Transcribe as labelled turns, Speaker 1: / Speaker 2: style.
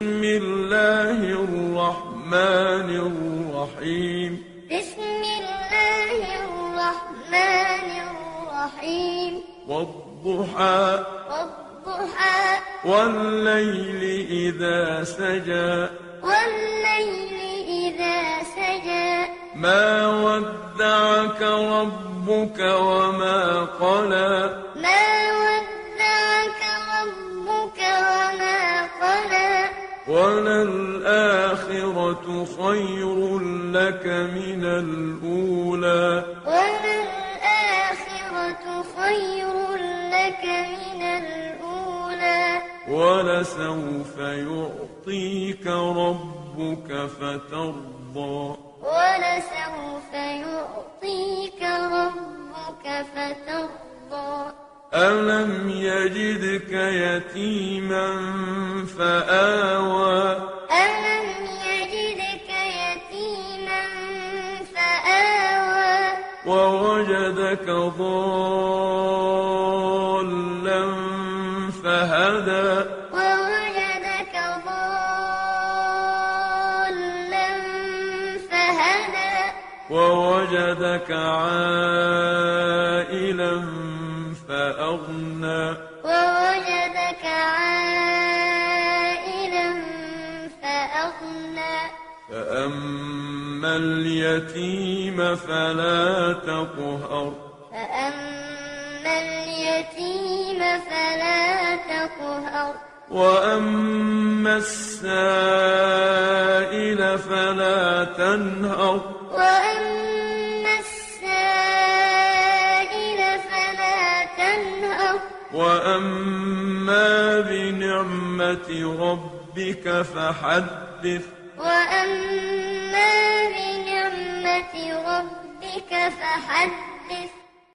Speaker 1: بسم الله الرحمن الرحيم
Speaker 2: بسم الله الرحمن الرحيم
Speaker 1: والضحى
Speaker 2: والضحى
Speaker 1: والليل إذا سجى
Speaker 2: والليل إذا سجى
Speaker 1: ما ودعك ربك وما قلى
Speaker 2: ما ودعك ربك وما قلى
Speaker 1: وللآخرة خير لك من الأولى
Speaker 2: وللآخرة خير لك من الأولى
Speaker 1: ولسوف يعطيك ربك فترضى
Speaker 2: ولسوف يعطيك ربك فترضى
Speaker 1: ألم يجدك يتيما فآوى
Speaker 2: ألم يجدك يتيما فآوى
Speaker 1: ووجدك ضالا فهدى
Speaker 2: ووجدك ضالا فهدى
Speaker 1: ووجدك عائلا فأغنى
Speaker 2: ووجدك عائلا فأغنى
Speaker 1: فأما اليتيم فلا تقهر
Speaker 2: فأما اليتيم فلا تقهر
Speaker 1: وأما السائل فلا تنهر
Speaker 2: وأما السائل فلا تنهر
Speaker 1: وأما بنعمة ربك فحدث
Speaker 2: وأما بنعمة ربك فحدث